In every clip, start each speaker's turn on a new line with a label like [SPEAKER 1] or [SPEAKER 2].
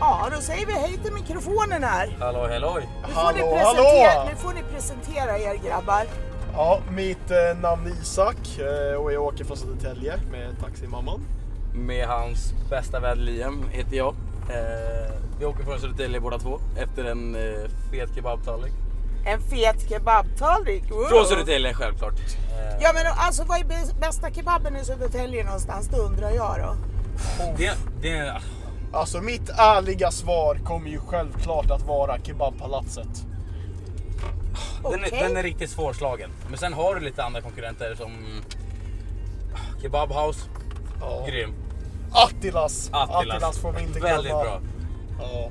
[SPEAKER 1] Ja, då säger vi hej till mikrofonen här.
[SPEAKER 2] Hallå halloj!
[SPEAKER 1] Nu får, ni
[SPEAKER 3] Hallå,
[SPEAKER 1] presentera,
[SPEAKER 3] hallå!
[SPEAKER 1] nu får ni presentera er grabbar.
[SPEAKER 3] Ja, mitt eh, namn är Isak eh, och jag åker från Södertälje med taximamman.
[SPEAKER 2] Med hans bästa vän Liam heter jag. Eh, vi åker från Södertälje båda två efter en eh, fet kebabtallrik.
[SPEAKER 1] En fet kebabtallrik. Wow.
[SPEAKER 2] Från Södertälje självklart. Eh,
[SPEAKER 1] Ja men alltså vad är bäst- bästa kebaben i Södertälje någonstans? Det undrar jag då.
[SPEAKER 2] det, det,
[SPEAKER 3] Alltså mitt ärliga svar kommer ju självklart att vara kebabpalatset.
[SPEAKER 2] den, är,
[SPEAKER 1] Okej.
[SPEAKER 2] den är riktigt svårslagen. Men sen har du lite andra konkurrenter som Kebab House,
[SPEAKER 3] Ja.
[SPEAKER 2] grym.
[SPEAKER 3] Attilas.
[SPEAKER 2] Attilas.
[SPEAKER 3] får vi inte glömma.
[SPEAKER 2] Väldigt bra.
[SPEAKER 3] Ja.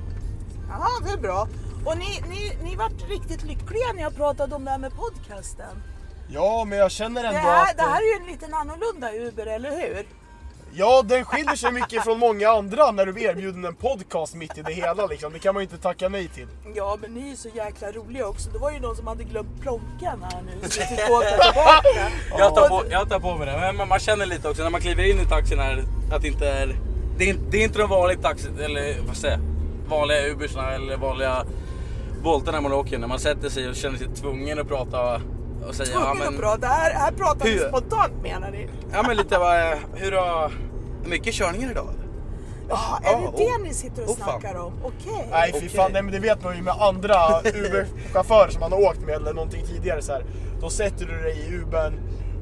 [SPEAKER 1] Jaha, det är bra. Och ni, ni, ni vart riktigt lyckliga när jag pratade om det här med podcasten.
[SPEAKER 3] ja, men jag känner
[SPEAKER 1] Det
[SPEAKER 3] ändå
[SPEAKER 1] här,
[SPEAKER 3] att...
[SPEAKER 1] det här är ju en liten annorlunda Uber, eller hur?
[SPEAKER 3] eh, Ja, den skiljer sig mycket från många andra när du blir erbjuden en podcast mitt i det hela. Liksom. Det kan man ju inte tacka nej till.
[SPEAKER 1] Ja, men ni är så jäkla roliga också. Det var ju någon som hade glömt plånkan här nu så vi fick åka tillbaka.
[SPEAKER 2] Jag tar, på, jag tar på mig det. Men man, man känner lite också när man kliver in i taxin här att det inte är... Det är, det är inte de vanliga taxi... Eller vad säger jag? Vanliga Ubersna eller vanliga Volterna man åker. När man sätter sig och känner sig tvungen att prata och säga...
[SPEAKER 1] Tvungen
[SPEAKER 2] ja,
[SPEAKER 1] att
[SPEAKER 2] men,
[SPEAKER 1] prata. Här, här pratar vi
[SPEAKER 2] Hur?
[SPEAKER 1] spontant menar ni?
[SPEAKER 2] ja men lite vad... Hur har... Mycket körningar idag eller?
[SPEAKER 1] Ja, är
[SPEAKER 2] Ja,
[SPEAKER 1] det det
[SPEAKER 2] oh.
[SPEAKER 1] ni sitter och
[SPEAKER 2] Oh, fan.
[SPEAKER 1] snackar om? Okej.
[SPEAKER 3] Nej, fy
[SPEAKER 2] Okej.
[SPEAKER 3] fan, nej, men det vet man ju med andra Uber-chaufförer som man har åkt med eller någonting tidigare så här. Då sätter du dig i Ubern,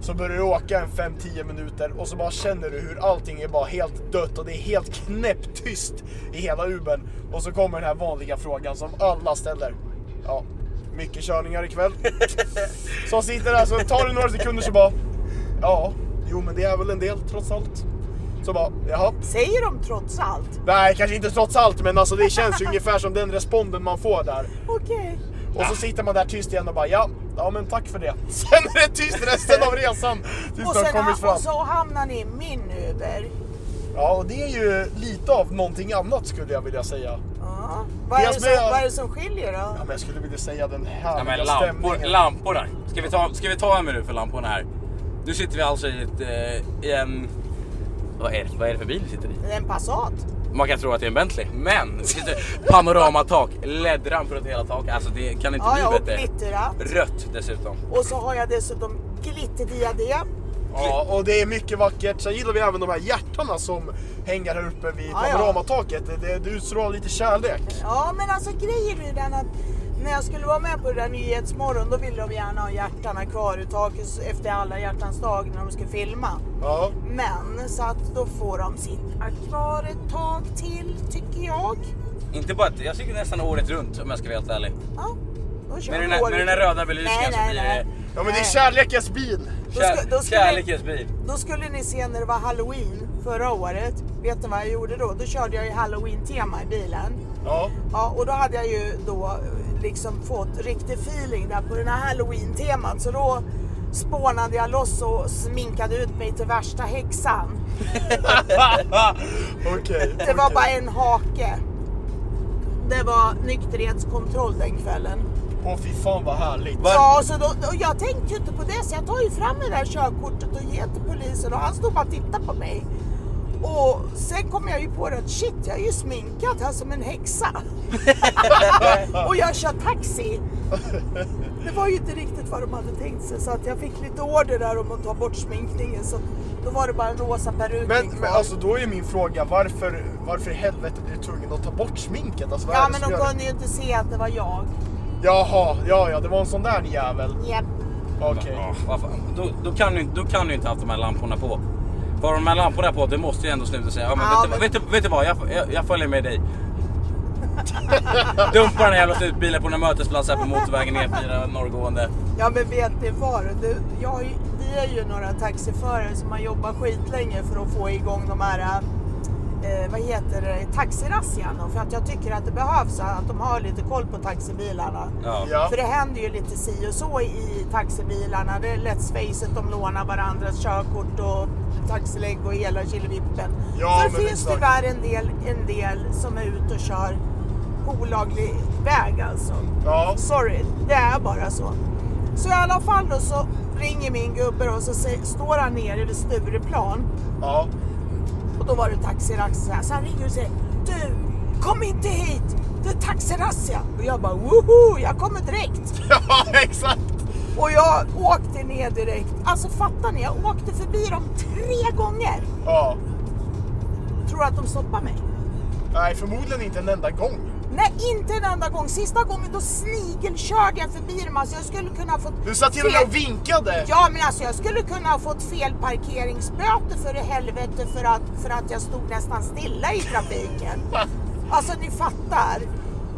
[SPEAKER 3] så börjar du åka en 5-10 minuter och så bara känner du hur allting är bara helt dött och det är helt knäpptyst i hela Ubern. Och så kommer den här vanliga frågan som alla ställer. Ja, mycket körningar ikväll. så sitter där, så tar det några sekunder så bara, ja, jo men det är väl en del trots allt. Så bara, jaha.
[SPEAKER 1] Säger de trots allt?
[SPEAKER 3] Nej, kanske inte trots allt, men alltså det känns ju ungefär som den responden man får där.
[SPEAKER 1] Okej.
[SPEAKER 3] Och så sitter man där tyst igen och bara ja, ja men tack för det. Sen är det tyst resten av resan tills
[SPEAKER 1] Och,
[SPEAKER 3] du har
[SPEAKER 1] sen
[SPEAKER 3] kommit
[SPEAKER 1] ha-
[SPEAKER 3] fram.
[SPEAKER 1] och så hamnar ni i min Uber.
[SPEAKER 3] Ja, och det är ju lite av någonting annat skulle jag vilja säga.
[SPEAKER 1] Ja. Vad, är
[SPEAKER 3] Jag
[SPEAKER 1] det som,
[SPEAKER 3] spelar-
[SPEAKER 1] vad är det som skiljer då?
[SPEAKER 3] Ja, men jag skulle vilja säga den
[SPEAKER 2] Ja,
[SPEAKER 3] härliga
[SPEAKER 2] men lampor,
[SPEAKER 3] stämningen.
[SPEAKER 2] lamporna. Ska vi, ta, ska vi ta en minut för lamporna här? Nu sitter vi alltså i, ett, eh, i en... Vad är, det, vad är det för bil vi sitter i?
[SPEAKER 1] En Passat?
[SPEAKER 2] Man kan tro att det är en Bentley, men det sitter panoramatak, LED-ramp runt hela taket. Alltså det kan inte
[SPEAKER 1] Ja, ja,
[SPEAKER 2] bli
[SPEAKER 1] och
[SPEAKER 2] bättre.
[SPEAKER 1] glitterratt.
[SPEAKER 2] Rött dessutom.
[SPEAKER 1] Och så har jag dessutom glitterdiadem.
[SPEAKER 3] Ja, och det är mycket vackert. Sen gillar vi även de här hjärtarna som hänger här uppe vid
[SPEAKER 1] Ah, Ja, ja.
[SPEAKER 3] panoramataket. Det, det, det utstrålar lite kärlek.
[SPEAKER 1] Ja, men alltså grejen är ju den att när jag skulle vara med på det där Nyhetsmorgon då ville de gärna ha hjärtarna kvar i taket efter alla hjärtans dag när de skulle filma.
[SPEAKER 3] Ja.
[SPEAKER 1] Men så att då får de sitta kvar ett tag till tycker jag.
[SPEAKER 2] Inte bara att, jag tycker nästan året runt om jag ska vara helt ärlig.
[SPEAKER 1] Ja, då kör
[SPEAKER 2] Med den
[SPEAKER 1] vi
[SPEAKER 2] här,
[SPEAKER 1] året.
[SPEAKER 2] med den här röda
[SPEAKER 1] Nej,
[SPEAKER 2] belysningen så
[SPEAKER 1] nej,
[SPEAKER 2] blir
[SPEAKER 1] nej.
[SPEAKER 2] det
[SPEAKER 3] ja, men det är
[SPEAKER 1] Nej.
[SPEAKER 3] kärlekens bil.
[SPEAKER 1] Då
[SPEAKER 2] kär,
[SPEAKER 1] ska- då ska
[SPEAKER 2] kärlekens bil.
[SPEAKER 1] Då skulle ni se när det var halloween förra året. Vet ni vad jag gjorde då? Då körde jag ju halloween-tema i bilen.
[SPEAKER 3] Ja.
[SPEAKER 1] Ja, och då hade jag ju då liksom fått riktig feeling där på den här halloween-temat. Så då spånade jag loss och sminkade ut mig till värsta häxan.
[SPEAKER 3] Okej.
[SPEAKER 1] Det var
[SPEAKER 3] okej.
[SPEAKER 1] bara en hake. Det var nykterhetskontroll den kvällen.
[SPEAKER 3] Åh fy fan vad härligt.
[SPEAKER 2] Va?
[SPEAKER 1] Ja, så då, och jag tänkte ju inte på det så jag tar ju fram det där körkortet och ger till polisen och han stod bara och tittade på mig. Och sen kom jag ju på det att shit, jag är ju sminkad här som en häxa. och jag kör taxi. Det var ju inte riktigt vad de hade tänkt sig så att jag fick lite order där om att ta bort sminkningen så att då var det bara en rosa peruk
[SPEAKER 3] Men,
[SPEAKER 1] kvar.
[SPEAKER 3] men alltså då är ju min fråga varför, varför i helvete blir du tvungen att ta bort sminket? Alltså, vad är
[SPEAKER 1] Ja
[SPEAKER 3] det
[SPEAKER 1] men
[SPEAKER 3] som
[SPEAKER 1] de
[SPEAKER 3] gör det?
[SPEAKER 1] kunde ju inte se att det var jag.
[SPEAKER 3] Jaha, ja ja det var en sån där jävel.
[SPEAKER 1] Japp.
[SPEAKER 3] Okej.
[SPEAKER 2] Ja, vad fan. Då, då, kan du, inte- då kan du inte haft de här lamporna på. Var de här lamporna på, du måste ju ändå sluta säga ja, men
[SPEAKER 1] Ja,
[SPEAKER 2] vet,
[SPEAKER 1] men-
[SPEAKER 2] Du, vet, du, vet du vad, jag, jag, jag följer med dig. Dumpa den här jävla slutbilen på den här mötesplatsen här på motorvägen E4 norrgående.
[SPEAKER 1] Ja men vet ni vad? Du, jag, har ju- vi är ju några taxiförare som har jobbat skitlänge för att få igång de här, eh, vad heter det, taxirassian då. För att jag tycker att det behövs att de har lite koll på taxibilarna.
[SPEAKER 2] Ja.
[SPEAKER 3] Ja.
[SPEAKER 1] För det händer ju lite si och så i taxibilarna. Det är let's face it, de lånar varandras körkort och taxilägg och hela killevippen.
[SPEAKER 3] Ja,
[SPEAKER 1] så
[SPEAKER 3] men
[SPEAKER 1] det finns
[SPEAKER 3] exakt.
[SPEAKER 1] tyvärr en del, en del som är ute och kör på olaglig väg alltså.
[SPEAKER 3] Ja.
[SPEAKER 1] Sorry, det är bara så. Så i alla fall då så ringer min gubbe och så sä- står han nere vid Stureplan
[SPEAKER 3] ja.
[SPEAKER 1] och då var det taxiraxeln så här. Så han ringer och säger Du, Kom inte hit! Det är taxirazzia! Och jag bara woho, jag kommer direkt!
[SPEAKER 3] Ja, exakt!
[SPEAKER 1] Och jag åkte ner direkt. Alltså fattar ni? Jag åkte förbi dem tre gånger.
[SPEAKER 3] Ja.
[SPEAKER 1] Tror du att de stoppar mig?
[SPEAKER 3] Nej, förmodligen inte en enda gång.
[SPEAKER 1] Nej, inte en enda gång. Sista gången då snigelkörde jag förbi dem. Alltså jag skulle kunna ha fått...
[SPEAKER 3] Du satt till och med
[SPEAKER 1] fel-
[SPEAKER 3] och vinkade!
[SPEAKER 1] Ja, men alltså jag skulle kunna ha fått fel parkeringsböter för i helvete för att, för att jag stod nästan stilla i trafiken. Alltså ni fattar.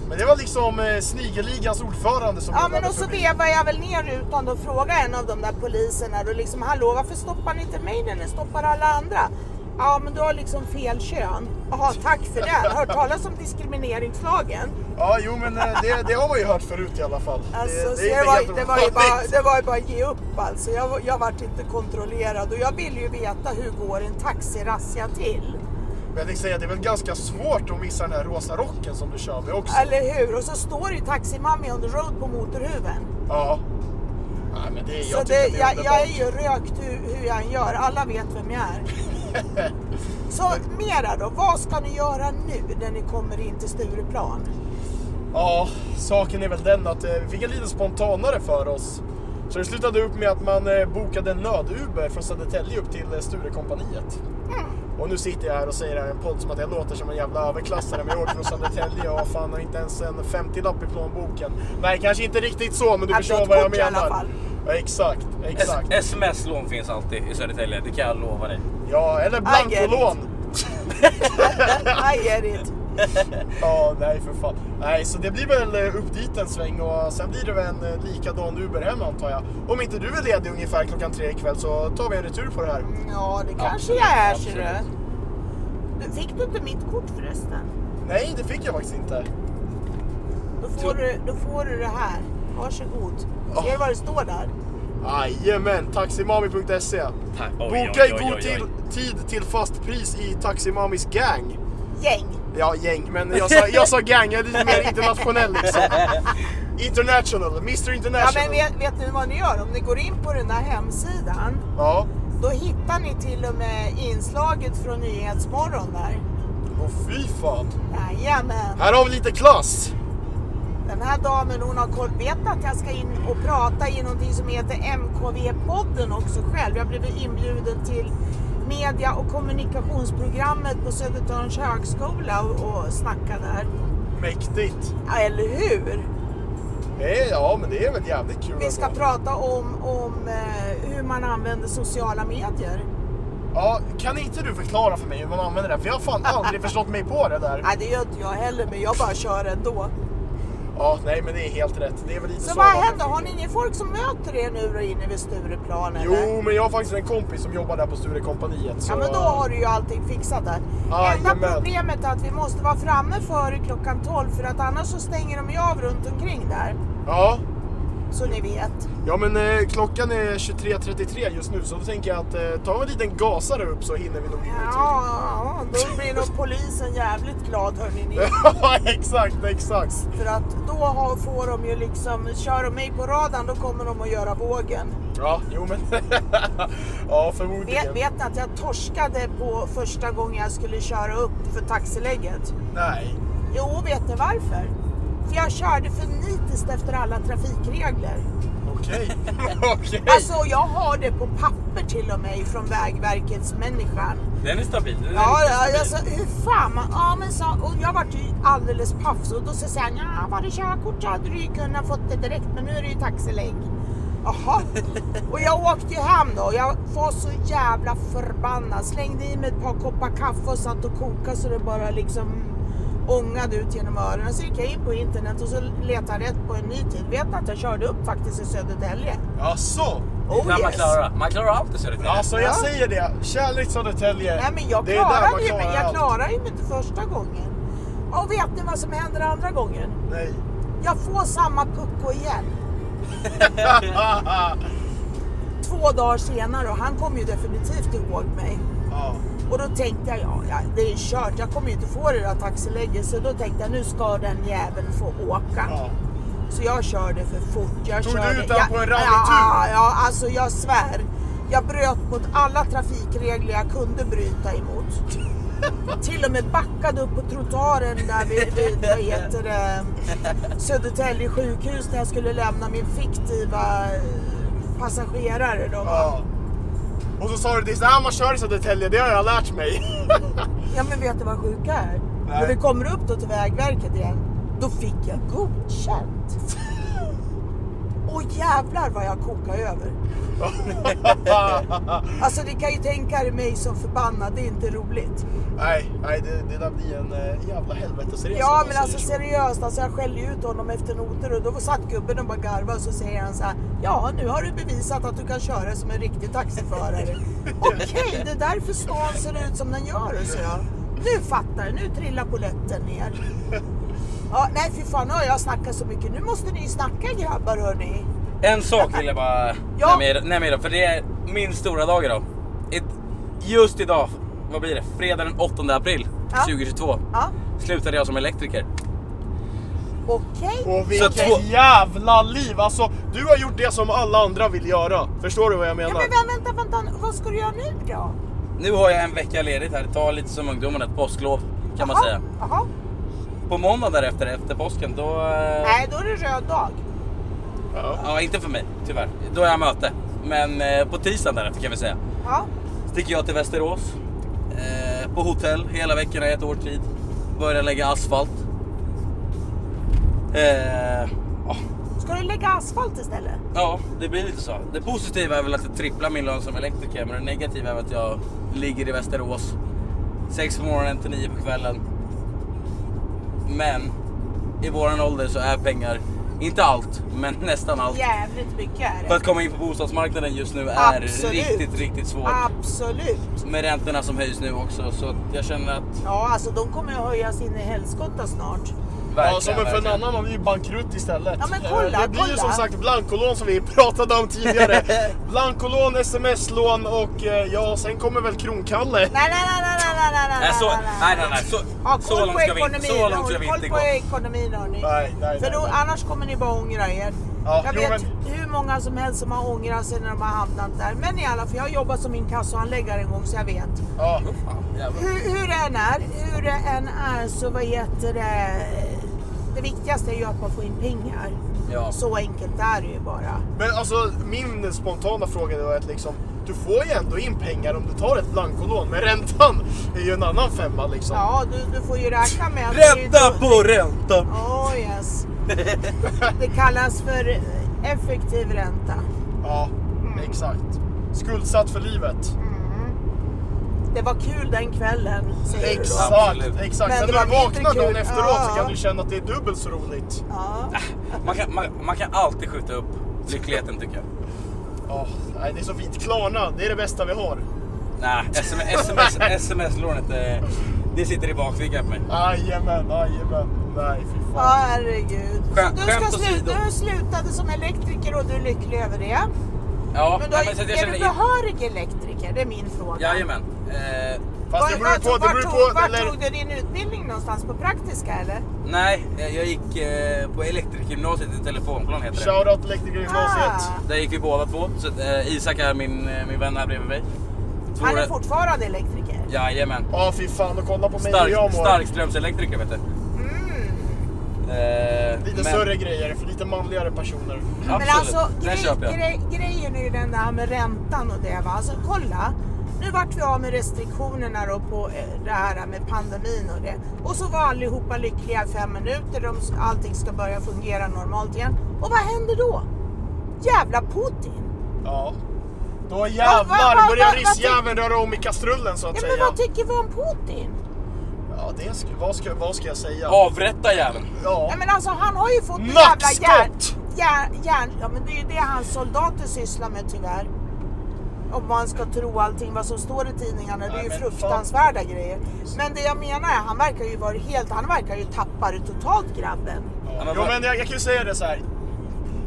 [SPEAKER 3] Men det var liksom eh, snigelligans ordförande som
[SPEAKER 1] Ja
[SPEAKER 3] rullade
[SPEAKER 1] men alltså, och så
[SPEAKER 3] förbi.
[SPEAKER 1] vevade jag väl ner rutan och frågade en av de där poliserna och liksom hallå varför stoppar ni inte mig när ni stoppar alla andra? Ja men du har liksom fel kön. Jaha tack för det. Hört talas om diskrimineringslagen?
[SPEAKER 3] Ja, jo men eh, det, det har man ju hört förut i alla fall.
[SPEAKER 1] Alltså, så
[SPEAKER 3] inte
[SPEAKER 1] det, var,
[SPEAKER 3] helt
[SPEAKER 1] det, var ju bara,
[SPEAKER 3] ovanligt.
[SPEAKER 1] det var ju bara att ge upp alltså. Jag, var- jag vart inte kontrollerad och jag ville ju veta hur går en taxirazzia till?
[SPEAKER 3] Men jag tänkte säga, det är väl ganska svårt att missa den här rosa rocken som du kör med också.
[SPEAKER 1] Eller hur? Och så står det ju taximami on the road på motorhuven.
[SPEAKER 3] Ja. Nej men det, jag
[SPEAKER 1] så
[SPEAKER 3] tycker
[SPEAKER 1] det,
[SPEAKER 3] att det är
[SPEAKER 1] jag, jag är
[SPEAKER 3] underbart.
[SPEAKER 1] ju rökt hur, hur jag än gör. Alla vet vem jag är. så mera då. Vad ska ni göra nu när ni kommer in till Stureplan?
[SPEAKER 3] Ja, saken är väl den att eh, vi fick en lite spontanare för oss. Så det slutade upp med att man eh, bokade en nöduber från Södertälje upp till eh, Sturecompagniet.
[SPEAKER 1] Mm.
[SPEAKER 3] Och nu sitter jag här och säger det här i en podd som att jag låter som en jävla överklassare men jag åker från Södertälje och fan har inte ens en 50-lapp i plånboken. Nej, kanske inte riktigt så men du
[SPEAKER 1] Att du
[SPEAKER 3] förstår
[SPEAKER 1] har
[SPEAKER 3] vad jag
[SPEAKER 1] ett kort i alla
[SPEAKER 3] menar.
[SPEAKER 1] fall.
[SPEAKER 3] Ja, exakt, exakt.
[SPEAKER 2] Sms-lån finns alltid i Södertälje, det kan jag lova dig.
[SPEAKER 3] Ja, eller blankolån.
[SPEAKER 1] I get it.
[SPEAKER 3] Ja, nej för fan. Nej, så det blir väl eh, upp dit en sväng och sen blir det väl en eh, likadan Uber hem antar jag. Om inte du är ledig ungefär klockan tre ikväll så tar vi en retur på det här.
[SPEAKER 1] Ja, det kanske
[SPEAKER 2] Absolut,
[SPEAKER 1] jag är,
[SPEAKER 2] absolut.
[SPEAKER 1] ser du. Du, Fick du inte mitt kort förresten?
[SPEAKER 3] Nej, det fick jag faktiskt inte.
[SPEAKER 1] Då får, du, då får du det här. Varsågod. Ser du vad det står där?
[SPEAKER 3] Jajamän, taximami.se.
[SPEAKER 2] Tack. Oj,
[SPEAKER 3] Boka i
[SPEAKER 2] oj, oj,
[SPEAKER 3] god
[SPEAKER 2] oj.
[SPEAKER 3] till, tid till fast pris i Taximamis gang.
[SPEAKER 1] Gäng.
[SPEAKER 3] Ja, gäng, men jag sa, jag sa gang, jag är lite mer internationell liksom. International, Mr
[SPEAKER 1] Ja,
[SPEAKER 3] International.
[SPEAKER 1] men vet, vet ni vad ni gör? Om ni går in på den där hemsidan
[SPEAKER 3] Ja.
[SPEAKER 1] Då hittar ni till och med inslaget från Nyhetsmorgon där.
[SPEAKER 3] Och fy fan.
[SPEAKER 1] Jajamän.
[SPEAKER 3] Här har vi lite klass.
[SPEAKER 1] Den här damen hon har koll. Vet att jag ska in och prata i någonting som heter MKV-podden också själv. Jag blev inbjuden till media och kommunikationsprogrammet på Södertörns högskola och, och snacka där.
[SPEAKER 3] Mäktigt.
[SPEAKER 1] Ja, eller hur?
[SPEAKER 3] Eh, Ja, men det är väl jävligt kul
[SPEAKER 1] Vi ska
[SPEAKER 3] ändå.
[SPEAKER 1] prata om, om eh, hur man använder sociala medier.
[SPEAKER 3] Ja, kan inte du förklara för mig hur man använder det? här? För jag har fan aldrig förstått mig på det där.
[SPEAKER 1] Nej, det gör inte jag heller, men jag bara kör ändå.
[SPEAKER 3] Ja, nej men det är helt rätt. Det är väl lite
[SPEAKER 1] Så vad
[SPEAKER 3] man-
[SPEAKER 1] händer? Har ni ingen folk som möter er nu då inne vid Stureplan eller?
[SPEAKER 3] Jo, men jag har faktiskt en kompis som jobbar där på Sturecompagniet. Så...
[SPEAKER 1] Ja men då har du ju allting fixat där.
[SPEAKER 3] Ah,
[SPEAKER 1] Enda
[SPEAKER 3] jajamän.
[SPEAKER 1] problemet är att vi måste vara framme före klockan 12 för att annars så stänger de ju av runt omkring där.
[SPEAKER 3] Ja.
[SPEAKER 1] Så ni vet.
[SPEAKER 3] Ja men eh, klockan är 23.33 just nu så då tänker jag att eh, ta en liten gasare upp så hinner vi nog in i tid.
[SPEAKER 1] Ja, då blir nog polisen jävligt glad hörni ni.
[SPEAKER 3] Ja, exakt, exakt.
[SPEAKER 1] För att då har, får de ju liksom, kör de mig på radarn då kommer de att göra vågen.
[SPEAKER 3] Ja, jo men. ja,
[SPEAKER 1] Vet,
[SPEAKER 3] förmodligen.
[SPEAKER 1] vet ni att jag torskade på första gången jag skulle köra upp för taxilägget?
[SPEAKER 3] Nej.
[SPEAKER 1] Jo, vet ni varför? För jag körde för nitiskt efter alla trafikregler.
[SPEAKER 3] Okej. Okej.
[SPEAKER 1] Alltså, jag har det på papper till och med från Vägverkets människan.
[SPEAKER 2] Den är stabil. Den är
[SPEAKER 1] Ja,
[SPEAKER 2] riktigt stabil.
[SPEAKER 1] alltså hur fan man... Ja, men så, och jag vart ju alldeles paff. Så då så säger han, ja, var det körkort så hade du ju kunnat fått det direkt, men nu är det ju taxilägg. Jaha. Och jag åkte ju hem då och jag var så jävla förbannad. Slängde i mig ett par koppar kaffe och satt och kokade så det bara liksom ångade ut genom öronen. Så gick jag in på internet och så letade jag rätt på en ny tid. Vet ni att jag körde upp faktiskt i Södertälje?
[SPEAKER 3] Jaså?
[SPEAKER 1] Oh,
[SPEAKER 2] Nej, man, klarar, man klarar allt i Södertälje.
[SPEAKER 3] Alltså jag
[SPEAKER 1] Ja.
[SPEAKER 3] säger det, kärlek Södertälje.
[SPEAKER 1] Nej men jag
[SPEAKER 3] det är där man
[SPEAKER 1] klarade ju mig. Jag
[SPEAKER 3] allt.
[SPEAKER 1] klarade ju mig inte första gången. Och vet ni vad som händer andra gången?
[SPEAKER 3] Nej.
[SPEAKER 1] Jag får samma pucko igen.
[SPEAKER 3] Ah,
[SPEAKER 1] Två dagar senare och han kom ju definitivt ihåg mig.
[SPEAKER 3] ja.
[SPEAKER 1] Och då tänkte jag, ja, ja det är kört, jag kommer ju inte få det där taxilägget. Så då tänkte jag, nu ska den jäveln få åka.
[SPEAKER 3] Ja.
[SPEAKER 1] Så jag körde för fort. Jag
[SPEAKER 3] Tog du
[SPEAKER 1] körde,
[SPEAKER 3] ut den
[SPEAKER 1] jag-
[SPEAKER 3] på en
[SPEAKER 1] Ja,
[SPEAKER 3] rallytur?
[SPEAKER 1] ja, alltså jag svär. Jag bröt mot alla trafikregler jag kunde bryta emot. Till och med backade upp på trottoaren där vid, vid vad heter det, Södertälje sjukhus när jag skulle lämna min fiktiva eh, passagerare. Då. va.
[SPEAKER 3] Ja. Och så sa du till ah, man kör i Södertälje, det har jag lärt mig.
[SPEAKER 1] Ja men vet du vad sjuka är?
[SPEAKER 3] Nej.
[SPEAKER 1] När vi kommer upp då till Vägverket igen, då fick jag godkänt. Och jävlar vad jag kokade över. Alltså ni kan ju tänka er mig som förbannad, det är inte roligt.
[SPEAKER 3] nej, nej det, det där blir en eh, jävla helvetesresa. om
[SPEAKER 1] Ja
[SPEAKER 3] man
[SPEAKER 1] men
[SPEAKER 3] säger
[SPEAKER 1] alltså
[SPEAKER 3] så.
[SPEAKER 1] seriöst, alltså, jag skällde ut honom efter noter och då satt gubben och bara garvade och så säger han så här. Ja nu har du bevisat att du kan köra som en riktig taxiförare. Okej, det är därför stan ser ut som den gör, så jag. Nu fattar jag, nu trillar polletten ner. Ja, nej fy fan, nu har jag snackat så mycket. Nu måste ni snacka grabbar hörni.
[SPEAKER 2] En sak vill jag bara
[SPEAKER 1] Ja.
[SPEAKER 2] nämna er- nämna er om, för det är min stora dag idag. Ett, just idag, vad blir det? Fredag den 8 april
[SPEAKER 1] Ja.
[SPEAKER 2] 2022
[SPEAKER 1] Ja,
[SPEAKER 2] slutade jag som elektriker.
[SPEAKER 1] okej.
[SPEAKER 3] Och
[SPEAKER 2] Så
[SPEAKER 3] vilket
[SPEAKER 2] två-
[SPEAKER 3] jävla liv! Alltså, du har gjort det som alla andra vill göra. Förstår du vad jag
[SPEAKER 1] Ja
[SPEAKER 3] menar?
[SPEAKER 1] men vä- vänta, vänta, vad ska du göra nu då?
[SPEAKER 2] Nu har jag en vecka ledigt här, ta lite som ungdomarna, ett påsklov kan man
[SPEAKER 1] Jaha,
[SPEAKER 2] säga.
[SPEAKER 1] Jaha,
[SPEAKER 2] På måndag därefter, efter påsken, då... eh,
[SPEAKER 1] nej då är det röd dag.
[SPEAKER 3] Ja.
[SPEAKER 2] Ja, inte för mig tyvärr. Då är jag möte. Men eh, på tisdagen därefter kan vi säga.
[SPEAKER 1] Ja,
[SPEAKER 2] Sticker jag till Västerås. Eh, på hotell hela veckan i ett års tid. Börjar lägga asfalt. Eh, ja.
[SPEAKER 1] ska du lägga asfalt istället?
[SPEAKER 2] ja, det blir lite så. Det positiva är väl att jag tripplar min lön som elektriker. Men det negativa är väl att jag ligger i Västerås. sex på morgonen till nio på kvällen. Men i våran ålder så är pengar, inte allt, men nästan allt.
[SPEAKER 1] Jävligt mycket är det.
[SPEAKER 2] För att komma in på bostadsmarknaden just nu är
[SPEAKER 1] Absolut.
[SPEAKER 2] riktigt, riktigt svårt.
[SPEAKER 1] Absolut.
[SPEAKER 2] Med räntorna som höjs nu också så att jag känner att...
[SPEAKER 1] Ja, alltså de kommer att höjas in i helskotta snart.
[SPEAKER 3] Ja, som
[SPEAKER 2] verkligen,
[SPEAKER 3] en för en
[SPEAKER 2] verkligen.
[SPEAKER 3] annan man blir ju bankrutt istället.
[SPEAKER 1] Ja, men
[SPEAKER 3] Eh,
[SPEAKER 1] kolla,
[SPEAKER 3] det blir ju
[SPEAKER 1] kolla.
[SPEAKER 3] som sagt blankolån som vi pratade om tidigare. blankolån, sms-lån och eh, ja, sen kommer väl kronkalle.
[SPEAKER 1] Nej, nej, nej, nej, nej, nej, nej,
[SPEAKER 2] Nej, Äh, så, nej, nej, nej. Så,
[SPEAKER 1] Ha koll
[SPEAKER 2] så långt
[SPEAKER 1] på
[SPEAKER 2] ska vi inte,
[SPEAKER 1] ekonomin,
[SPEAKER 2] så långt ska vi
[SPEAKER 1] ha
[SPEAKER 2] inte
[SPEAKER 1] koll
[SPEAKER 2] gå.
[SPEAKER 1] på ekonomin hörni.
[SPEAKER 3] Nej, nej,
[SPEAKER 1] För
[SPEAKER 3] nej,
[SPEAKER 1] då,
[SPEAKER 3] nej.
[SPEAKER 1] annars kommer ni bara ångra er.
[SPEAKER 3] Ja,
[SPEAKER 1] jag
[SPEAKER 3] jo,
[SPEAKER 1] vet
[SPEAKER 3] men-
[SPEAKER 1] hur många som helst som har ångrat sig när de har hamnat där. Men i alla fall, jag har jobbat som inkassoanläggare en gång så jag vet.
[SPEAKER 3] Ja.
[SPEAKER 2] Åh, fan, jävlar.
[SPEAKER 1] Hur, hur det än är, hur det än är så vad heter det? Det viktigaste är ju att man får in pengar.
[SPEAKER 2] Ja.
[SPEAKER 1] Så enkelt är det ju bara.
[SPEAKER 3] Men alltså, min spontana fråga det var att liksom, du får ju ändå in pengar om du tar ett blankolån, men räntan är ju en annan femma liksom.
[SPEAKER 1] Ja, du, du får ju räkna med att... det är ju-
[SPEAKER 2] Ränta på ränta!
[SPEAKER 1] Oh yes. Det kallas för effektiv ränta.
[SPEAKER 3] Ja,
[SPEAKER 1] Mm.
[SPEAKER 3] exakt. Skuldsatt för livet.
[SPEAKER 1] Det var kul den kvällen, säger du då.
[SPEAKER 3] Exakt,
[SPEAKER 2] Absolut.
[SPEAKER 3] exakt.
[SPEAKER 1] Men
[SPEAKER 3] Sen
[SPEAKER 1] det
[SPEAKER 3] när du
[SPEAKER 1] var mindre
[SPEAKER 3] vaknar dagen
[SPEAKER 1] kul.
[SPEAKER 3] efteråt så
[SPEAKER 1] Ja.
[SPEAKER 3] kan du känna att det är dubbelt så roligt.
[SPEAKER 2] Ah,
[SPEAKER 1] Ja.
[SPEAKER 2] Man kan, man, man kan alltid skjuta upp lyckligheten tycker jag.
[SPEAKER 3] Ja, nej, det är så fint. Klarna, det är det bästa vi har.
[SPEAKER 2] Nej, sms-lånet SMS, SMS -lånet, eh, det sitter i bakfickan på mig.
[SPEAKER 3] Jajamän, jajamän. Nej, fy
[SPEAKER 1] Ja,
[SPEAKER 3] fan.
[SPEAKER 1] herregud.
[SPEAKER 2] Skämt-
[SPEAKER 1] så du, ska
[SPEAKER 2] skämt åsido.
[SPEAKER 1] sluta, du slutade som elektriker och du är lycklig över det.
[SPEAKER 2] Ja,
[SPEAKER 1] Men då,
[SPEAKER 2] nej, men så att jag
[SPEAKER 1] är du
[SPEAKER 2] känner...
[SPEAKER 1] behörig elektriker? Det är min fråga.
[SPEAKER 2] Jajamän. Eh,
[SPEAKER 3] Fast det
[SPEAKER 1] Var-
[SPEAKER 3] beror ju
[SPEAKER 1] alltså,
[SPEAKER 3] på, det
[SPEAKER 1] vart
[SPEAKER 3] beror ju
[SPEAKER 1] tog-
[SPEAKER 3] på,
[SPEAKER 1] vart
[SPEAKER 3] eller...
[SPEAKER 1] tog du din utbildning någonstans? På praktiska eller?
[SPEAKER 2] nej, eh, jag gick eh, på Elektrikgymnasiet i Telefonplan heter det.
[SPEAKER 3] Shoutout Elektrikergymnasiet.
[SPEAKER 1] Ah,
[SPEAKER 2] Där gick vi båda två. Så, att, eh, Isak är min, eh, min vän här bredvid mig. Två
[SPEAKER 1] han är
[SPEAKER 2] rätt-
[SPEAKER 1] fortfarande elektriker.
[SPEAKER 2] Jajamän.
[SPEAKER 3] Ja, fy fan. Och kolla på mig hur
[SPEAKER 2] Stark,
[SPEAKER 3] jag mår.
[SPEAKER 2] starkströmselektriker vet du.
[SPEAKER 1] Mm.
[SPEAKER 2] Eh,
[SPEAKER 3] Lite
[SPEAKER 2] men-
[SPEAKER 3] större grejer för lite manligare personer.
[SPEAKER 2] Absolut,
[SPEAKER 1] Men alltså
[SPEAKER 2] den
[SPEAKER 1] grej,
[SPEAKER 2] köper jag.
[SPEAKER 1] grej, grejen är ju den där med räntan och det va. Alltså kolla. Nu vart vi av med restriktionerna då på eh, det här med pandemin och det. Och så var allihopa lyckliga i fem minuter. De, allting ska börja fungera normalt igen. Och vad händer då? Jävla Putin!
[SPEAKER 3] Ja. Då
[SPEAKER 1] Ja, va- va-
[SPEAKER 3] jävlar börjar
[SPEAKER 1] va- va-
[SPEAKER 3] ryssjäveln röra om i kastrullen så att
[SPEAKER 1] Ja,
[SPEAKER 3] säga.
[SPEAKER 1] men vad tycker vi om Putin?
[SPEAKER 3] Ja, det ska, vad, ska, vad ska jag säga?
[SPEAKER 2] Avrätta jäveln.
[SPEAKER 3] Ja.
[SPEAKER 1] Ja, men alltså han har ju fått en jävla järn...
[SPEAKER 3] Nackskott!
[SPEAKER 1] järn, järn ja, men det är ju det hans soldater sysslar med tyvärr. Om man ska tro allting vad som står i tidningarna. Det är
[SPEAKER 3] Nej,
[SPEAKER 1] ju
[SPEAKER 3] men
[SPEAKER 1] fruktansvärda grejer. Men det jag menar är, han verkar ju vara helt... Han verkar ju tappa det totalt grabben.
[SPEAKER 2] Ja,
[SPEAKER 3] Ja,
[SPEAKER 2] men
[SPEAKER 3] jo,
[SPEAKER 2] vad-
[SPEAKER 3] men jag, jag kan ju säga det så här.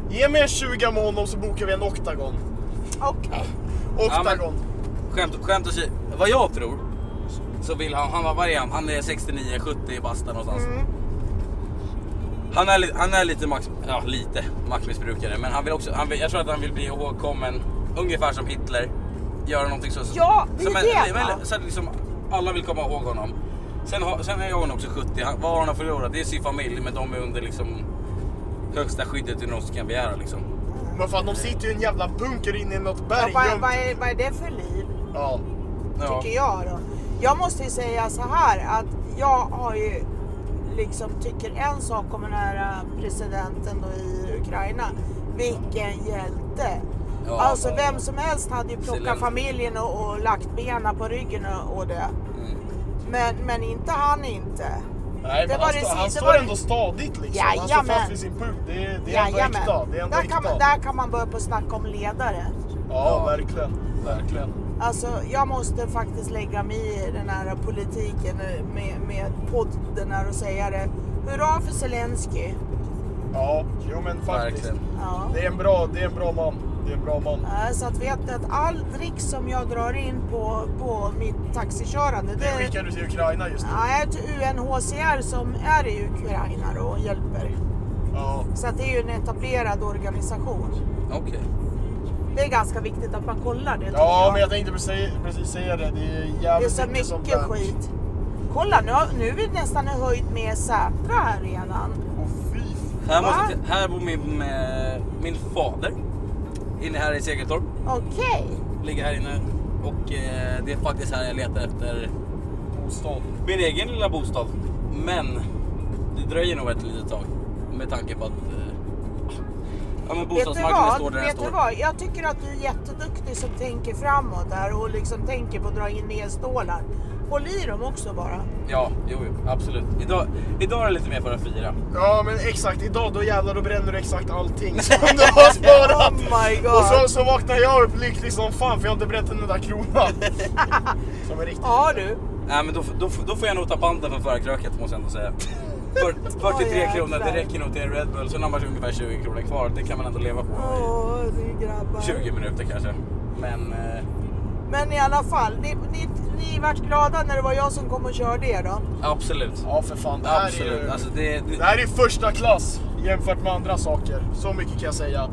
[SPEAKER 3] Ge mig en 20 med honom så bokar vi en oktagon.
[SPEAKER 1] Okej.
[SPEAKER 2] men-
[SPEAKER 3] Oktagon.
[SPEAKER 2] Skämt, skämt åsido. Vad jag tror så vill han, han var vad är han? Han är 69, 70 i basta någonstans.
[SPEAKER 1] Mm.
[SPEAKER 2] Han är, li- han är lite, max, ja, lite maktmissbrukare men han vill också, han vill, jag tror att han vill bli ihågkommen ungefär som Hitler. Göra någonting så...
[SPEAKER 1] Ja, det är
[SPEAKER 2] som
[SPEAKER 1] det,
[SPEAKER 2] men-
[SPEAKER 1] va?
[SPEAKER 2] så att liksom, alla vill komma ihåg honom. Sen, har, sen är jag också 70. Han, vad har han förlorat? Det är sin familj, men de är under liksom högsta skyddet du någonsin kan begära liksom.
[SPEAKER 3] Men fan de sitter ju i en jävla bunker inne i något
[SPEAKER 1] Ja,
[SPEAKER 3] berg.
[SPEAKER 1] vad,
[SPEAKER 3] gömt.
[SPEAKER 1] vad, är, vad är det för liv?
[SPEAKER 3] Ja.
[SPEAKER 2] Ja.
[SPEAKER 1] tycker jag då. Jag måste ju säga så här att jag har ju liksom tycker en sak om den här eh, presidenten då i Ukraina. Vilken hjälte!
[SPEAKER 2] Ja,
[SPEAKER 1] alltså
[SPEAKER 2] ja,
[SPEAKER 1] vem
[SPEAKER 2] ja.
[SPEAKER 1] som helst hade ju plockat
[SPEAKER 2] Zelenskyj.
[SPEAKER 1] familjen och, och lagt benen på ryggen och, och det.
[SPEAKER 2] Mm.
[SPEAKER 1] Men, men inte han inte.
[SPEAKER 3] Nej,
[SPEAKER 1] Det
[SPEAKER 3] men
[SPEAKER 1] var
[SPEAKER 3] han,
[SPEAKER 1] det
[SPEAKER 3] stå,
[SPEAKER 1] sista-
[SPEAKER 3] han
[SPEAKER 1] det
[SPEAKER 3] står
[SPEAKER 1] var det-
[SPEAKER 3] ändå stadigt liksom. Han står
[SPEAKER 1] Jajamän.
[SPEAKER 3] fast vid sin punkt. Det, är- det är ändå äkta. Det är ändå
[SPEAKER 1] Där kan, man,
[SPEAKER 3] äkta.
[SPEAKER 1] där kan man börja på att snacka om ledare.
[SPEAKER 3] Ja, verkligen. Verkligen.
[SPEAKER 1] Alltså jag måste faktiskt lägga mig i den här politiken eh, med, med podden här och säga det. Hurra för Zelensky.
[SPEAKER 3] Ja, jo men faktiskt.
[SPEAKER 2] Verkligen.
[SPEAKER 1] Ja.
[SPEAKER 3] Det är en bra, det är en bra man. Det är en bra man.
[SPEAKER 1] Eh, Så att vet ni att all dricks som jag drar in på, på mitt taxikörande
[SPEAKER 3] Det skickar du till Ukraina just nu.
[SPEAKER 1] Ja, är till UNHCR som är i Ukraina då och hjälper.
[SPEAKER 3] Ja.
[SPEAKER 1] Så att det är ju en etablerad organisation.
[SPEAKER 2] Okej.
[SPEAKER 1] Det är ganska viktigt att man kollar det. tycker
[SPEAKER 3] Ja,
[SPEAKER 1] jag.
[SPEAKER 3] men jag tänkte precis, precis säga det. Det är
[SPEAKER 1] Det är
[SPEAKER 3] jävligt
[SPEAKER 1] så
[SPEAKER 3] sånt
[SPEAKER 1] mycket
[SPEAKER 3] där.
[SPEAKER 1] skit. Kolla, nu, har- nu är vi nästan höjt med Sätra här redan.
[SPEAKER 3] Åh fy.
[SPEAKER 2] Här,
[SPEAKER 1] Va?
[SPEAKER 2] måste, jag- här bor min, eh, min fader. Inne här i Segeltorp.
[SPEAKER 1] Okej.
[SPEAKER 2] Ligger här inne. Och eh, det är faktiskt här jag letar efter
[SPEAKER 3] Bostad.
[SPEAKER 2] min egen lilla bostad. Men det dröjer nog ett litet tag. Med tanke på att eh, ja, men
[SPEAKER 1] Vet du
[SPEAKER 2] bostadsmarknaden står
[SPEAKER 1] vad?
[SPEAKER 2] där den
[SPEAKER 1] Vet du
[SPEAKER 2] står.
[SPEAKER 1] vad? Jag tycker att du är jätteduktig som tänker framåt där och liksom tänker på att dra in nedstålar. Håll i dem också bara.
[SPEAKER 2] Ja, jo, jo, absolut. Idag, idag är det lite mer för att fira.
[SPEAKER 3] Ja, men exakt. Idag då jävlar då bränner du exakt allting som du har sparat.
[SPEAKER 1] Oh my god.
[SPEAKER 3] Och så, så vaknar jag upp lycklig som fan för jag har inte bränt en enda krona. som är riktigt.
[SPEAKER 1] Ja du.
[SPEAKER 2] Nej, men då, då, då får jag nog ta panten för förra kröket måste jag ändå säga. För, 43
[SPEAKER 1] Oj,
[SPEAKER 2] kronor,
[SPEAKER 1] jäklar.
[SPEAKER 2] det räcker nog till en Red Bull. Sen har man ungefär 20 kronor kvar. Det kan man ändå leva på
[SPEAKER 1] Åh, du grabbar.
[SPEAKER 2] i 20 minuter kanske. Men eh,
[SPEAKER 1] Men i alla fall, ni, ni, ni vart glada när det var jag som kom och körde er då?
[SPEAKER 2] absolut.
[SPEAKER 3] Ja, för fan. Det här är ju...
[SPEAKER 2] Absolut. Alltså, det,
[SPEAKER 3] Det
[SPEAKER 2] det,
[SPEAKER 3] här är första klass jämfört med andra saker. Så mycket kan jag säga.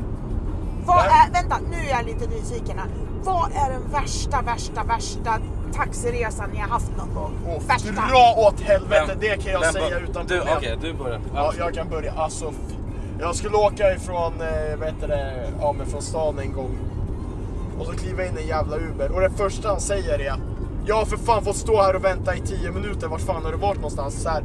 [SPEAKER 1] Vad
[SPEAKER 3] Nej.
[SPEAKER 1] är, vänta, nu är jag lite nyfiken här. Vad är den värsta, värsta, värsta taxiresan ni har haft någon gång?
[SPEAKER 3] Och
[SPEAKER 1] värsta?
[SPEAKER 3] dra åt helvete,
[SPEAKER 2] Vem-
[SPEAKER 3] det kan jag
[SPEAKER 2] vem
[SPEAKER 3] säga
[SPEAKER 2] bör-
[SPEAKER 3] utan
[SPEAKER 2] du,
[SPEAKER 3] problem.
[SPEAKER 2] Okej, du börjar.
[SPEAKER 3] Ja, jag kan börja. Alltså, fy- jag skulle åka ifrån, eh, vad heter det, ja men från stan en gång. Och så kliva in i en jävla Uber. Och det första han säger är, jag har för fan fått stå här och vänta i 10 minuter, vart fan har du varit någonstans? Så här,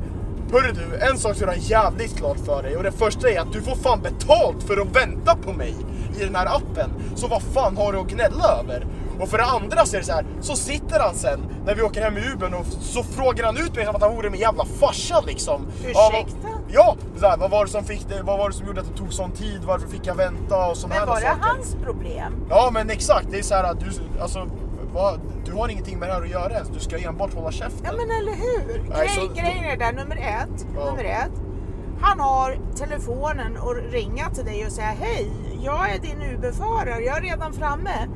[SPEAKER 3] Hörru du, en sak ska du ha jävligt klart för dig och det första är att du får fan betalt för att vänta på mig i den här appen. Så vad fan har du att gnälla över? Och för det andra så är det så här, så sitter han sen när vi åker hem i Ubern och så frågar han ut mig som att han vore min jävla farsa liksom. Ja, vad-
[SPEAKER 1] Ursäkta?
[SPEAKER 3] Ja! Så här, vad var det som fick det, vad var det som gjorde att det tog sån tid, varför fick jag vänta och
[SPEAKER 1] Men
[SPEAKER 3] sådana här
[SPEAKER 1] var
[SPEAKER 3] saker.
[SPEAKER 1] det hans problem?
[SPEAKER 3] Ja men exakt, det är så här att du, alltså, vad, du har ingenting med det här att göra ens, du ska enbart hålla käften.
[SPEAKER 1] Ja men eller hur?
[SPEAKER 3] Nej,
[SPEAKER 1] Grej,
[SPEAKER 3] så-
[SPEAKER 1] Grejen är där, nummer ett,
[SPEAKER 3] Ja.
[SPEAKER 1] nummer ett. Han har telefonen och ringa till dig och säga hej, jag är din Uber-förare, jag är redan framme.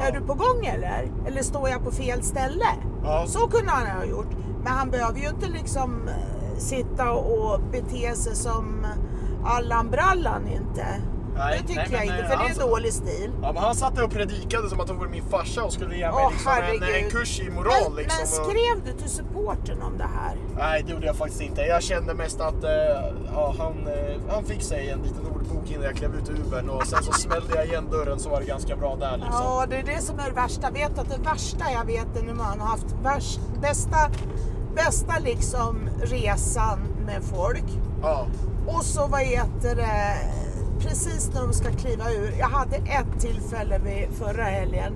[SPEAKER 1] Är du på gång eller? Eller står jag på fel ställe?
[SPEAKER 3] Ja.
[SPEAKER 1] Så kunde han ha gjort. Men han behöver ju inte liksom eh, sitta och bete sig som Allan Brallan inte.
[SPEAKER 3] Nej,
[SPEAKER 1] det tycker
[SPEAKER 3] nej, men,
[SPEAKER 1] jag inte,
[SPEAKER 3] eh,
[SPEAKER 1] för det
[SPEAKER 3] han-
[SPEAKER 1] är dålig stil.
[SPEAKER 3] Ja, men han satt där och predikade som att han vore min farsa och skulle ge mig
[SPEAKER 1] Åh,
[SPEAKER 3] liksom en,
[SPEAKER 1] herregud.
[SPEAKER 3] en kurs i moral.
[SPEAKER 1] Men,
[SPEAKER 3] liksom,
[SPEAKER 1] men
[SPEAKER 3] och-
[SPEAKER 1] skrev du till supporten om det här?
[SPEAKER 3] Nej, det gjorde jag faktiskt inte. Jag kände mest att eh, ja, han, eh, han fick sig en liten ordbok innan jag klev ut ur Ubern och sen så smällde jag igen dörren så var det ganska bra där liksom.
[SPEAKER 1] Ja, det är det som är det värsta. Jag vet att det värsta jag vet är när man har haft värst, bästa, bästa liksom resan med folk.
[SPEAKER 3] Ja.
[SPEAKER 1] Och så vad heter det, precis när de ska kliva ur. Jag hade ett tillfälle vid förra helgen.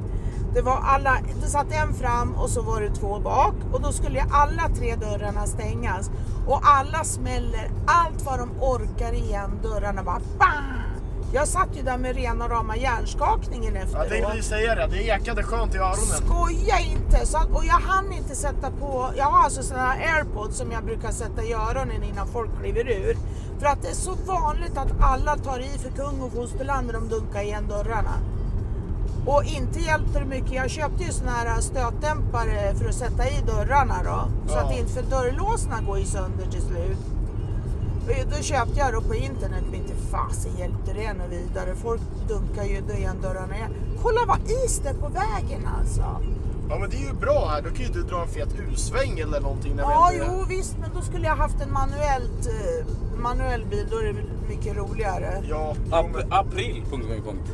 [SPEAKER 1] Det var alla, det satt en fram och så var det två bak och då skulle ju alla tre dörrarna stängas. Och alla smäller allt vad de orkar igen dörrarna bara bang! Jag satt ju där med rena rama hjärnskakningen
[SPEAKER 3] Jag
[SPEAKER 1] efteråt.
[SPEAKER 3] tänkte precis säga det, det ekade skönt i öronen.
[SPEAKER 1] Skoja inte! Så att, och jag hann inte sätta på... Jag har alltså såna här airpods som jag brukar sätta i öronen innan folk kliver ur. För att det är så vanligt att alla tar i för kung och fosterland när de dunkar igen dörrarna. Och inte hjälpte det mycket. Jag köpte ju såna här stötdämpare för att sätta i dörrarna då. Så
[SPEAKER 3] Ja.
[SPEAKER 1] att inte för dörrlåsarna går ju sönder till slut. Och Då köpte jag då på internet, men inte fasen hjälpte det något vidare. Folk dunkar ju igen dörrarna igen. Kolla vad is det är på vägen alltså.
[SPEAKER 3] Ja men det är ju bra här, då kan ju du dra en fet U-sväng eller någonting när
[SPEAKER 1] Ja,
[SPEAKER 3] vi inte...
[SPEAKER 1] jo visst, men då skulle jag haft en manuellt, eh, manuell bil. Då är det väl mycket roligare.
[SPEAKER 3] Ja, jo,
[SPEAKER 2] Ap-
[SPEAKER 3] men...
[SPEAKER 2] april, punkt, punkt, punkt.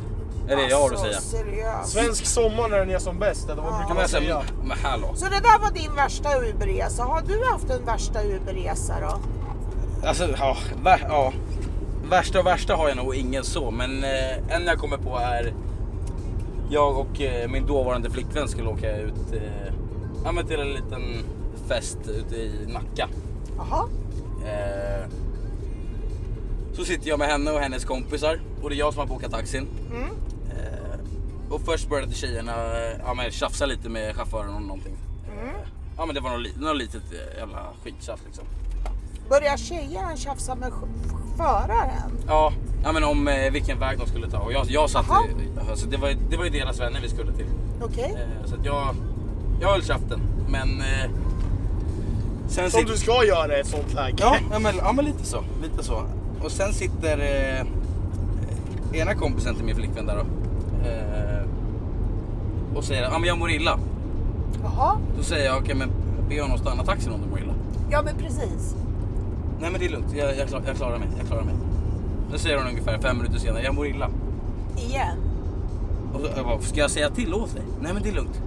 [SPEAKER 2] Är det jag har att
[SPEAKER 1] Alltså,
[SPEAKER 2] säga.
[SPEAKER 1] Seriöst.
[SPEAKER 3] Svensk sommar när den är som bäst, eller vad
[SPEAKER 1] Ja.
[SPEAKER 3] brukar
[SPEAKER 2] Kan
[SPEAKER 3] man
[SPEAKER 2] man säga,
[SPEAKER 3] säga?
[SPEAKER 2] men hallå.
[SPEAKER 1] Så det där var din värsta Uberresa. Har du haft en värsta Uberresa då?
[SPEAKER 2] Alltså, ja, vär, ja. Värsta och värsta har jag nog ingen så, men eh, en jag kommer på är... Jag och eh, min dåvarande flickvän skulle åka ut eh, ja, men till en liten fest ute i Nacka.
[SPEAKER 1] Jaha.
[SPEAKER 2] Eh, så sitter jag med henne och hennes kompisar och det är jag som har bokat taxin.
[SPEAKER 1] Mm.
[SPEAKER 2] Eh, och först började tjejerna eh, ja, men tjafsa lite med chauffören om någonting. Eh, ja men det var något, li- något litet eh, jävla skittjafs liksom.
[SPEAKER 1] Börjar tjejerna tjafsa med ch- föraren?
[SPEAKER 2] Ja, ja men om eh, vilken väg de skulle ta. Och jag, jag satt
[SPEAKER 1] Jaha.
[SPEAKER 2] i, alltså, det, var, ju- det var ju deras vänner vi skulle till.
[SPEAKER 1] Okej.
[SPEAKER 2] Eh, så att jag, jag höll käften. Men... Eh, sen
[SPEAKER 3] Som
[SPEAKER 2] sit-
[SPEAKER 3] du ska göra i ett sånt läge.
[SPEAKER 2] Ja, ja, men, ja men lite så. Lite så. Och sen sitter eh, eh, ena kompisen till min flickvän där då. Eh, och säger att ah, men jag mår illa.
[SPEAKER 1] Jaha.
[SPEAKER 2] Då säger jag okej men be honom stanna taxin om du mår illa.
[SPEAKER 1] Ja, men precis.
[SPEAKER 2] Nej men det är lugnt, jag, jag, klar, jag klarar mig. Jag klarar mig. Då säger hon ungefär fem minuter senare, jag mår illa.
[SPEAKER 1] Igen.
[SPEAKER 2] Och så, jag bara, ska jag säga till åt dig? Nej men det är lugnt.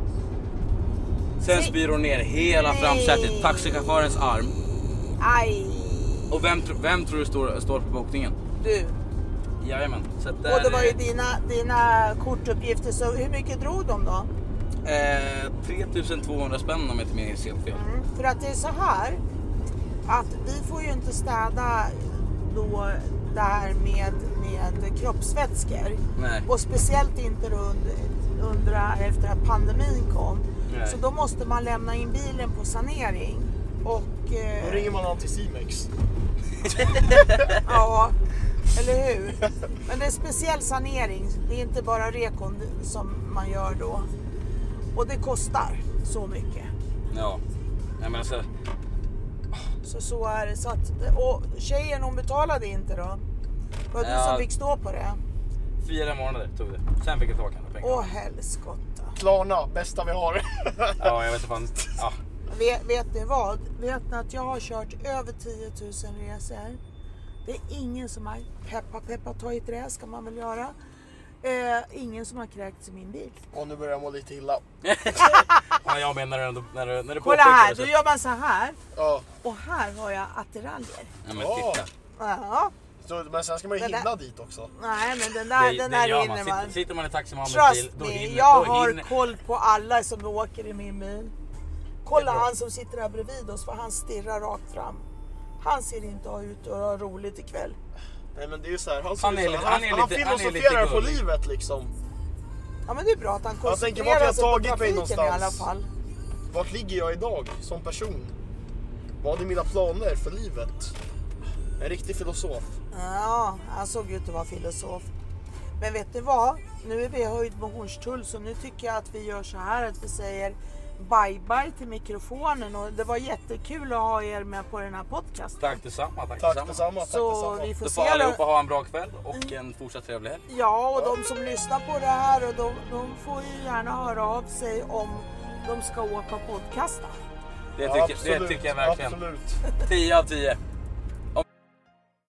[SPEAKER 2] Sen
[SPEAKER 1] Nej.
[SPEAKER 2] spyr hon ner hela
[SPEAKER 1] Nej.
[SPEAKER 2] framsätet, taxichaufförens arm.
[SPEAKER 1] Aj.
[SPEAKER 2] Och vem, tro- vem tror du står, står på bokningen?
[SPEAKER 1] Du.
[SPEAKER 2] Jajamän. Så att
[SPEAKER 1] Och det
[SPEAKER 2] där,
[SPEAKER 1] var ju
[SPEAKER 2] eh,
[SPEAKER 1] dina, dina kortuppgifter, så hur mycket drog de då?
[SPEAKER 2] Eh, 3200 spänn om jag inte minns helt fel.
[SPEAKER 1] Mm. För att det är så här att vi får ju inte städa då där med, med kroppsvätskor.
[SPEAKER 2] Nej.
[SPEAKER 1] Och speciellt inte under, under efter att pandemin kom.
[SPEAKER 2] Nej.
[SPEAKER 1] Så då måste man lämna in bilen på sanering. Och
[SPEAKER 3] Då
[SPEAKER 1] eh,
[SPEAKER 3] ringer man Anticimex.
[SPEAKER 1] ja, eller hur? Men det är speciell sanering. Det är inte bara rekon som man gör då. Och det kostar så mycket.
[SPEAKER 2] Ja. Nej men alltså.
[SPEAKER 1] Så så är det. Så att, och tjejen hon betalade inte då. Var det
[SPEAKER 2] Ja.
[SPEAKER 1] du som fick stå på det?
[SPEAKER 2] Fyra månader tog det. Sen fick jag tillbaka alla pengar.
[SPEAKER 1] Åh helskotta.
[SPEAKER 3] Klarna, bästa vi har.
[SPEAKER 2] Ja jag vet inte fan. Ja.
[SPEAKER 1] Vet, vet ni vad? Vet ni att jag har kört över 10 000 resor? Det är ingen som har, peppa peppa ta i trä ska man väl göra. Eh, ingen som har kräkts i min bil.
[SPEAKER 3] Och nu börjar jag må lite illa.
[SPEAKER 2] ja jag menar när du, när du, när du
[SPEAKER 1] Kolla
[SPEAKER 2] påpekar
[SPEAKER 1] här,
[SPEAKER 2] det.
[SPEAKER 1] då gör man så här.
[SPEAKER 3] Ja.
[SPEAKER 1] Och här har jag attiraljer.
[SPEAKER 2] Nej men titta.
[SPEAKER 1] Ja,
[SPEAKER 3] Så, men sen ska man ju
[SPEAKER 1] Det där-
[SPEAKER 3] hinna dit också.
[SPEAKER 1] nej men den där, den där
[SPEAKER 2] gör
[SPEAKER 1] vinner
[SPEAKER 2] Sitter,
[SPEAKER 1] man.
[SPEAKER 2] sitter man i taxi med Hamlets bil
[SPEAKER 1] Trust
[SPEAKER 2] då
[SPEAKER 1] me,
[SPEAKER 2] hinner,
[SPEAKER 1] jag
[SPEAKER 2] då
[SPEAKER 1] har
[SPEAKER 2] hinner.
[SPEAKER 1] koll på alla som åker i min bil. Kolla
[SPEAKER 2] Det är bra.
[SPEAKER 1] han som sitter här bredvid oss för han stirrar rakt fram. Han ser inte ut att ha roligt ikväll.
[SPEAKER 3] Nej men det är ju så här, han,
[SPEAKER 2] Han är
[SPEAKER 3] ser ut
[SPEAKER 2] lite-
[SPEAKER 3] som-
[SPEAKER 2] han är
[SPEAKER 3] han
[SPEAKER 2] lite- han är lite
[SPEAKER 3] filosoferar på
[SPEAKER 2] gullig.
[SPEAKER 3] livet liksom.
[SPEAKER 1] Ja men det är bra att han
[SPEAKER 3] Jag tänker, vart har
[SPEAKER 1] koncentrerar
[SPEAKER 3] jag
[SPEAKER 1] sig på
[SPEAKER 3] tagit mig
[SPEAKER 1] trafiken i alla
[SPEAKER 3] någonstans?
[SPEAKER 1] fall.
[SPEAKER 3] Vart ligger jag idag som person? Vad är mina planer för livet? En riktig filosof.
[SPEAKER 1] Ja, han såg ut att vara filosof. Men vet ni vad? Nu är vi höjd med Hornstull så nu tycker jag att vi gör så här att vi säger bye bye till mikrofonen och det var jättekul att ha er med på den här podcasten.
[SPEAKER 2] Tack detsamma. Tack,
[SPEAKER 3] Tack
[SPEAKER 2] detsamma.
[SPEAKER 3] detsamma, tack
[SPEAKER 1] Så vi
[SPEAKER 3] detsamma.
[SPEAKER 1] får
[SPEAKER 2] Då
[SPEAKER 1] se.
[SPEAKER 2] får allihopa ha en bra kväll och en fortsatt trevlig helg.
[SPEAKER 1] Ja, och de som lyssnar på det här och de, de får ju gärna höra av sig om de ska åka och podcasta.
[SPEAKER 2] Det tycker, det
[SPEAKER 3] Absolut,
[SPEAKER 2] tycker jag verkligen.
[SPEAKER 3] Absolut.
[SPEAKER 2] 10 av 10.